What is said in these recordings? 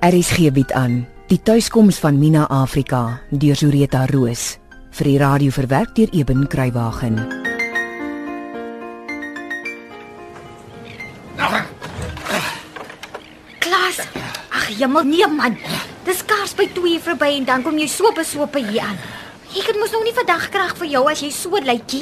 RSG bied aan Die tuiskoms van Mina Afrika deur Zureta Roos vir die radio verwerk deur Eben Kruiwagen. Klas. Ag, jemmel nee man. Dis skaars by 2 verby en dan kom jy so besope hier aan. Ek het mos nog nie vandag krag vir jou as jy so lykie.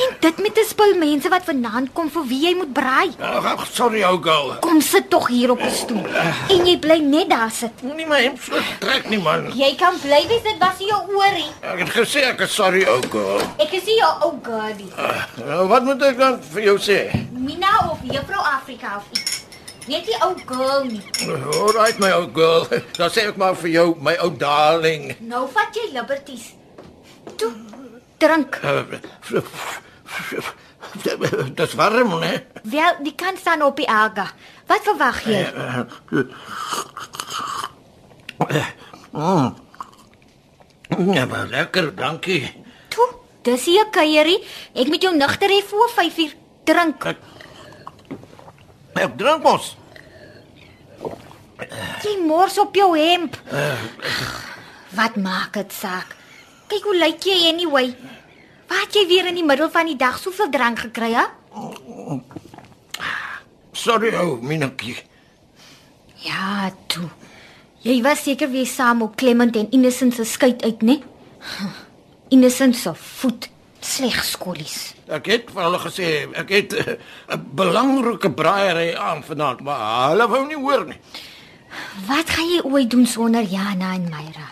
En dit met 'n spul mense wat vanaand kom vir wie jy moet braai. Ag, Oh, sorry ou girl. Kom sit tog hier op 'n stoel. En jy bly net daar sit. Moenie my hemp so trek nie man. Jy kan bly wees dit was nie jou oorie. Ek het gesê ek is sorry ou girl. Ek is nie jou ou girlie. Nou wat moet ek dan vir jou sê? Mina of Juffrou Afrika of iets. Net die ou girl nie. Alright my ou girl. Dan sê ek maar vir jou my ou darling. Nou vat jy liberties. Toe. Drink. Eh, Dis warm, né? Wel, die kan staan op die erga. Wat verwag jy? Eh, mm. Ja, maar lekker, dankie. Toe, dis hier 'n kuierie. Ek moet jou nigter hê voor 5uur. Drink. Ek Ek drink mos. Jy mors op jou hemp. Wat maak dit saak? Kyk hoe lyk jy anyway. Wat jy weer in die middel van die dag soveel drank gekry, hè? Sorry oh, ou Minetjie. Ja, toe. Jy was seker weer saam op Clement en Innocent se skei uit, né? Innocent se voet sleg skolies. Ek het vir hulle gesê ek het eh, 'n belangrike braaiery aan vanaand, maar hulle wou nie hoor nie. Wat gaan jy ooit doen sonder Jana en Myra?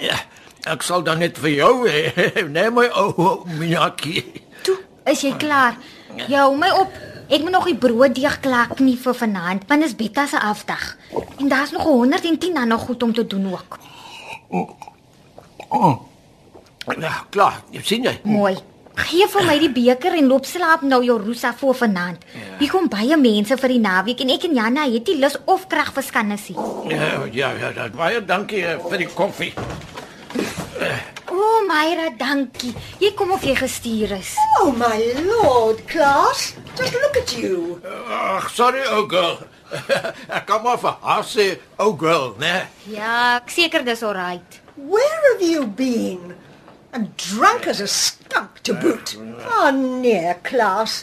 Ja, ek sal dan net vir jou hê. Nee my ou Minetjie. Toe, is jy klaar? Ja, hou my op. Ek moet nog die brooddeeg klaar knie vir vanaand, want is Betta se afdag. En daar's nog 110 ander goed om te doen ook. Ja, klaar. Jy sien jy. Mooi. Gee vir my die beker en loop slaap nou jou Rosa voor vanaand. Hier kom baie mense vir die naweek en ek en Janna het nie lus of krag vir skannesie. O, Ja, ja, ja, dat baie dankie eh, vir die koffie. oh, Myra, dankie. Jy kom of jy gestuur is. Oh, my lord, Klaas. Just look at you. Ag, sorry ou girl. Ek kom af vir haar sê ou girl, nee. né? Ja, ek seker dis alright. Where have you been? And drunk as a skunk to boot. Ah oh, nee, Klaas.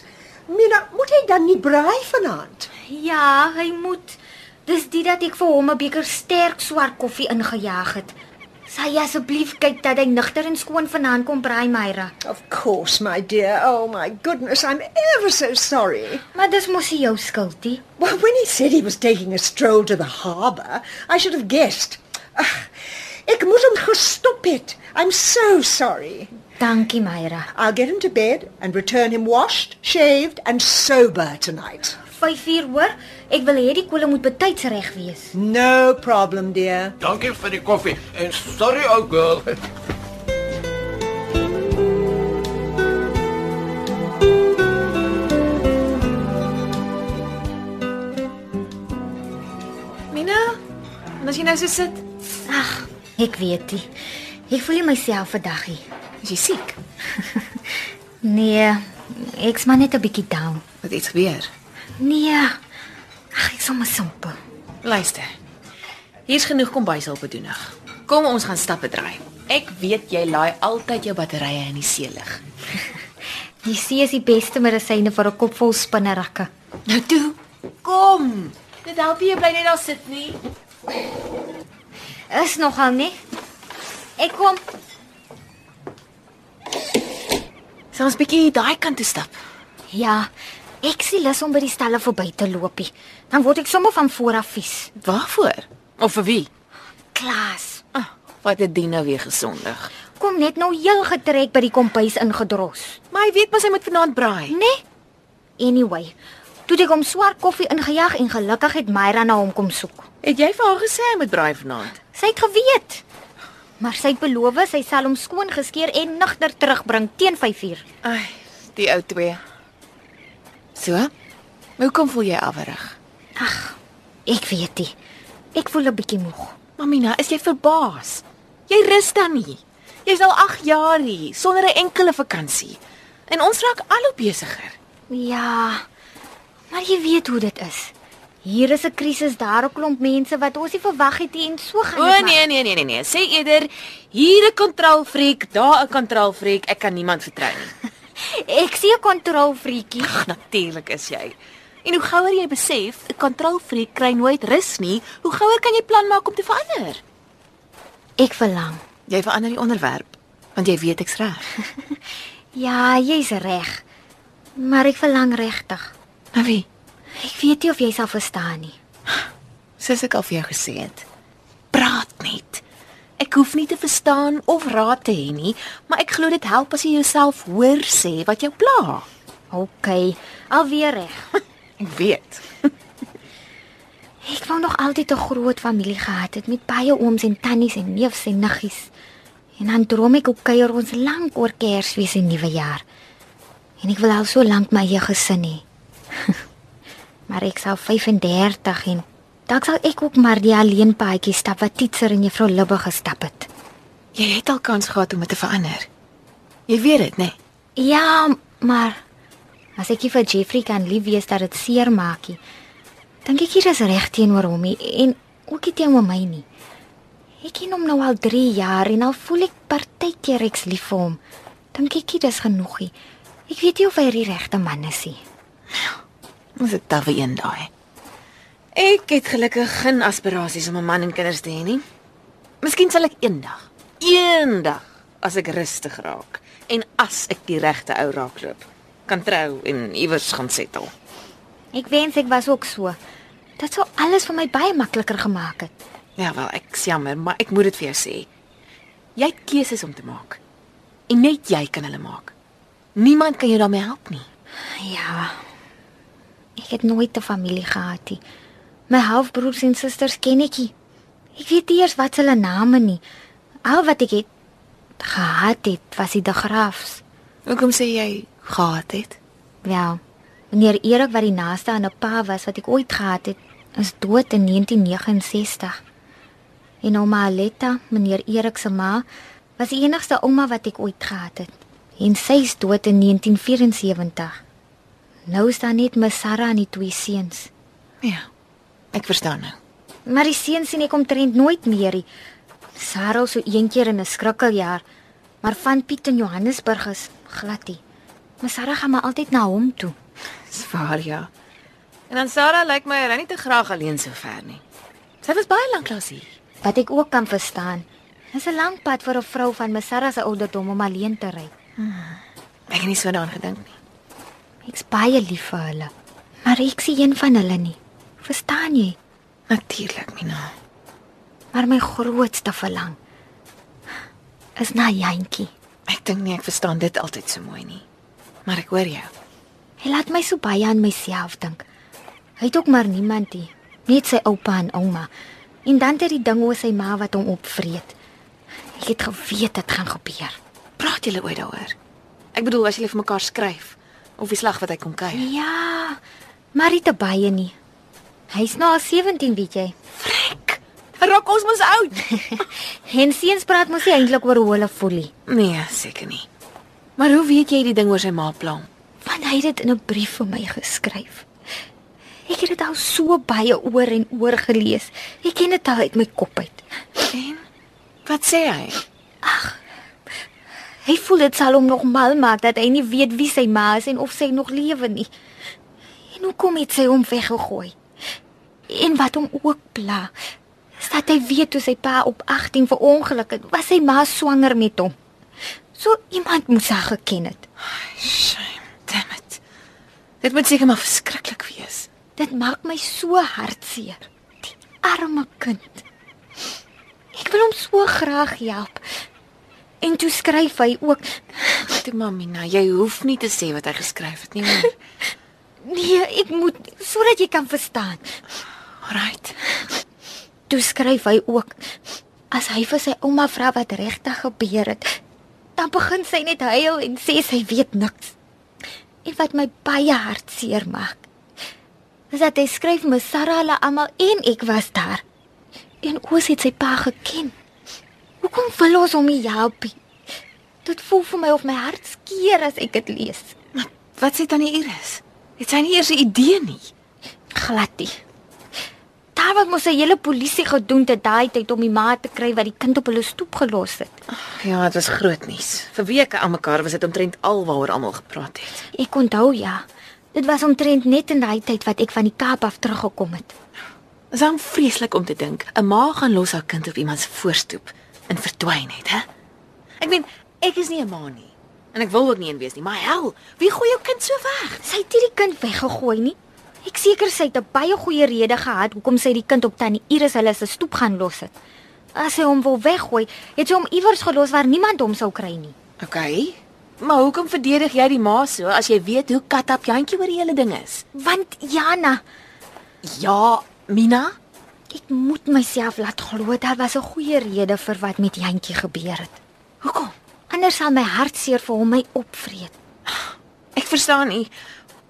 Mina, moet hy dan nie braai vanaand? Ja, hy moet. Dis dit dat ek vir hom 'n beker sterk swart koffie ingejaag het. Sy asseblief kyk dat hy nigter en skoon vanaand kom braai, Myra. Of course, my dear. Oh my goodness, I'm ever so sorry. Maar dis mos nie jou skuldie. Well, when he said he was taking a stroll to the harbour, I should have guessed. Ugh, ek moet hom gestop het. I'm so sorry. Dankie, Myra. I'll get him to bed and return him washed, shaved and sober tonight. 5uur hoor. Ek wil hê die kolle moet betyds reg wees. No problem, dear. Dankie vir die koffie en sorry ou girl. Mina, en as jy nou so sit, Ag, ek weet nie. Ek voel nie myself vandag nie. is jy siek. Nee, ek's maar net 'n bietjie down. Wat iets gebeur? Nee. Ag, ek's sommer simpel. Luister. Hier's genoeg kombuishulp benodig. Kom ons gaan stappe draai. Ek weet jy laai altyd jou batterye in die see lig. Die see is die beste medisyne vir 'n kop vol spinnerakke. Nou toe, kom. Dit help nie jy bly net daar sit nie. Is nogal nie. Ek kom. Sal ons bietjie daai kant toe stap. Ja. Ek sien lus om by die stalle verby te loopie. Dan word ek sommer van voor af vies. Waarvoor? Of vir wie? Klaas, Ah, wat het Dina weer gesondig. kom net nou heel getrek by die kombuis ingedros, Maar hy weet mos hy moet vanaand braai. né? Nee? Anyway, toe het ek hom swart koffie ingejaag en gelukkig het Myra na hom kom soek. Het jy vir haar gesê hy moet braai vanaand? Sy het geweet. Maar sy het beloof sy sal hom skoon geskeer en nigter terugbring teen 5uur. Ai, die ou twee. So? Hoekom voel jy afwerig? Ek weet dit. Ek voel 'n bietjie moeg. Mamina, is jy verbaas? Jy rus dan nie. Jy's al 8 jaar hier sonder 'n enkele vakansie. En ons raak al hoe besigger. Ja. Maar jy weet hoe dit is. Hier is 'n krisis daar, 'n klomp mense wat ons nie verwag het nie en so gaan O dit maar. nee nee nee nee nee, sê eerder hier 'n kontrolfreak, daar 'n kontrolfreak. Ek kan niemand vertrou nie. Ek sien 'n kontrolfreekie. Ag, natuurlik is jy. En hoe gouer jy besef 'n kontrolfreak kry nooit rus nie, hoe gouer kan jy plan maak om te verander. Ek verlang. Jy verander die onderwerp want jy weet ek's reg. Ja, jy's reg. Maar ek verlang regtig. Nou wie? Ek weet nie of jy sal verstaan nie. Soos ek al vir jou gesê het. Praat net. Ek hoef nie te verstaan of raad te hê nie, maar ek glo dit help as jy jouself hoor sê wat jou pla. OK, alweer reg. Ek weet. Ek wou nog altyd 'n groot familie gehad het met baie ooms en tannies en neefs en niggies. En dan droom ek op kuier ons lank oor Kersfees en Nuwejaar. En ek wil al so lank my eie gesin hê. maar ek sal 35 en dalk sal ek ook maar die alleenpaadjie stap wat Titser en Juffrou Libbe gestap het. Jy het al kans gehad om dit te verander. Jy weet dit, né? Nee? Ja, maar as ek nie vir Jeffrey kan lief wees dat dit seer maak nie. Dink ek hier is reg teenoor hom nie en ook nie teenoor my nie. Ek ken hom nou al 3 jaar en al voel ek partykeer ek's lief vir hom. Dink ek nie dis genoeg nie. Ek weet nie of hy die regte man is nie. Ons het daai een daai. Ek het gelukkig geen aspirasies om 'n man en kinders te hê nie. Miskien sal ek eendag, eendag as ek rustig raak en as ek die regte ou raakloop, kan trou en iewers gaan settle. Ek wens ek was ook so. Dit sou alles vir my baie makliker gemaak het. Ja wel, ek is jammer, maar ek moet dit vir jou sê. Jy het keuses om te maak. En net jy kan hulle maak. Niemand kan jou daarmee help nie. Ja. Ek het nooit 'n familie gehad nie. My halfbroers en susters ken ek nie. Ek weet nie eers wat hulle name nie. Al wat ek het gehad het, was die grafs. Hoekom sê jy gehad het? Wel, meneer Erik wat die naaste aan 'n pa was wat ek ooit gehad het, is dood in 1969. En ouma Aletta, meneer Erik se ma, was die enigste ouma wat ek ooit gehad het. En sy is dood in 1974. Nou is daar net my Sarah en die twee seuns. Ja. Ek verstaan nou. Maar die seun sien ek omtrent nooit meer nie. Sarah so een keer in 'n skrikkeljaar, maar van Piet in Johannesburg is glad nie. Maar Sarah gaan maar altyd na hom toe. Swaar ja. En dan Sarah lyk my hy nie te graag alleen so ver nie. Sy was baie lank lank hier. Wat ek ook kan verstaan, is 'n lang pad vir 'n vrou van my Sarah se ouderdom om alleen te ry. Ek het nie so daaraan gedink nie. Ek's baie lief vir hulle, maar ek sien een van hulle nie. Verstaan jy? Natuurlik, Mina. Maar my grootste verlang is na Jantjie. Ek dink nie ek verstaan dit altyd so mooi nie. Maar ek hoor jou. Hy laat my so baie aan myself dink. Hy het ook maar niemand nie, net sy oupa en ouma. En dan het hy die ding oor sy ma wat hom opvreet. Ek het geweet dit gaan gebeur. Praat julle ooit daaroor? Ek bedoel as julle vir mekaar skryf of die slag wat hy kom kuier. Ja, maar nie te baie nie. Hy's nou al 17, weet jy. Frek. Raak ons mos oud. En seuns praat mos nie eintlik oor hoe hulle voel nie, nee, seker nie. Maar hoe weet jy die ding oor sy ma plan? want hy het dit in 'n brief vir my geskryf. Ek het dit al so baie oor en oor gelees. Ek ken dit al uit my kop uit. En wat sê hy? Hy voel dit sal hom nog mal maak dat hy nie weet wie sy ma is en of sy nog lewe nie. En hoekom het sy hom weggegooi? En wat hom ook pla, is dat hy weet toe sy pa op 18 verongeluk het, was sy ma swanger met hom. So iemand moes haar geken het. Shame, damn it. Dit moet seker maar verskriklik wees. Dit maak my so hartseer. Die arme kind. Ek wil hom so graag help. En toe skryf hy ook, Toe Mamina, nou, jy hoef nie te sê wat hy geskryf het nie. hoor. nee, ek moet sodat jy kan verstaan. Alraight. Toe skryf hy ook as hy vir sy ouma vra wat regtig gebeur het, dan begin sy net huil en sê sy weet niks. En wat my baie hartseer maak, is dat hy skryf me Sarah hulle almal en ek was daar. En ons het sy pa geken. Hoekom wil ons hom nie help nie? Dit voel vir my of my hart skeer as ek dit lees. Wat sê tannie Iris? Het sy nie eers 'n idee nie. Glad nie. Daar wat mos 'n hele polisie gedoen te daai tyd om die ma te kry wat die kind op hulle stoep gelos het. Ja, dit was groot nuus. Vir weke aan mekaar was dit omtrent alwaaroor almal gepraat het. Ek onthou ja. Dit was omtrent net in daai tyd wat ek van die Kaap af teruggekom het. Dit is hom vreeslik om te dink 'n ma gaan los haar kind op iemand se voorstoep en verdwyn het, hè? Ek meen, ek is nie 'n ma nie en ek wil ook nie een wees nie, maar hel, wie gooi jou kind so weg? Sy het nie die kind weggegooi nie. Ek seker sy het 'n baie goeie rede gehad hoekom sy die kind op tannie Iris hulle se stoep gaan los het. As sy hom wou weggooi, het sy hom iewers gelos waar niemand hom sou kry nie. Okay. Maar hoekom verdedig jy die ma so as jy weet hoe katap jantjie oor die hele ding is? Want Jana, Ja, Mina, ek moet myself laat glo daar was 'n goeie rede vir wat met Jantjie gebeur het. hoekom? Anders sal my hartseer vir hom my opvreet. Ek verstaan nie.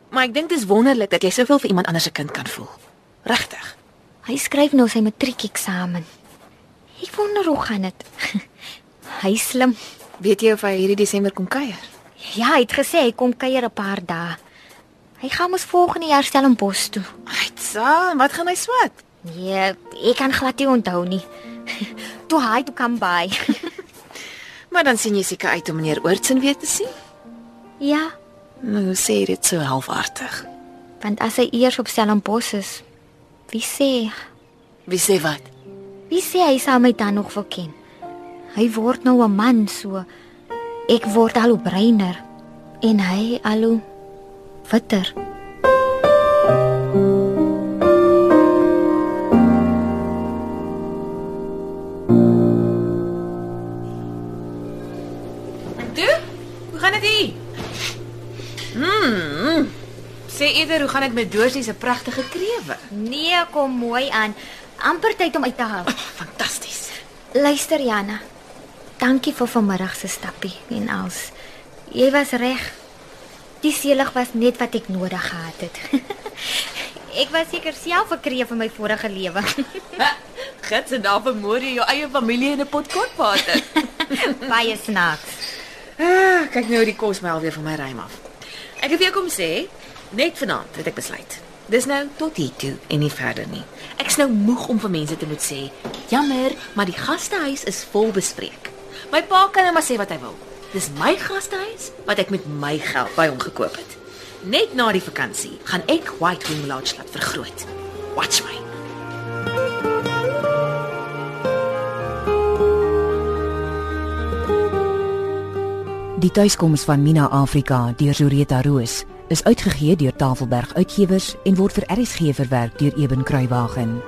Maar ek dink dis wonderlik dat jy soveel vir iemand anders se kind kan voel. Regtig. Hy skryf nou sy matriekeksamen. Ek wonder hoe gaan dit. Hy is slim. Weet jy of hy hierdie Desember kom kuier? Ja, hy het gesê hy kom kuier 'n paar dae. Hy gaan mos volgende jaar Stellenbosch toe. Aitsa, wat gaan hy swat? Nee, ek kan glad nie onthou nie. Toe hy toe kom by. Maar dan sien jy seker uit om meneer Oortsen weer te sien. ja, Nou sê jy dit so halfhartig. want as hy eers op Stellenbosch is, wie sê, Wie sê wat? wie sê hy sal my dan nog verken? Hy word nou 'n man so. Ek word al hoe breiner en hy al hoe witter. Toe? Hoe gaan dit hier? Mm. Sê eerder, hoe gaan dit met Dorsie se pragtige krewe? Nee, kom mooi aan. amper tyd om uit te haal. Fantasties. Luister Janna. Dankie vir vanmiddag se stappie en als. Jy was reg. Die seelig was net wat ek nodig gehad het. ek was seker self 'n kreef in my vorige lewe. Gits en dan vermoor jy jou eie familie in 'n pot kortwater. Baie snaaks. ah, kyk nou die kos my alweer van my rym af. Ek het weer kom sê, net vanaand het ek besluit. Dis nou tot hier toe en nie verder nie. Ek's nou moeg om vir mense te moet sê, jammer, maar die gastehuis is vol bespreek. My pa kan nou maar sê wat hy wil. Dis my gastehuis wat ek met my geld by hom gekoop het. Net na die vakansie gaan ek White Wing Lodge laat vergroot. Watch my. Die tuiskoms van Mina Afrika deur Zureta Roos is uitgegee deur Tafelberg Uitgewers en word vir RSG verwerk deur Eben Kruiwagen.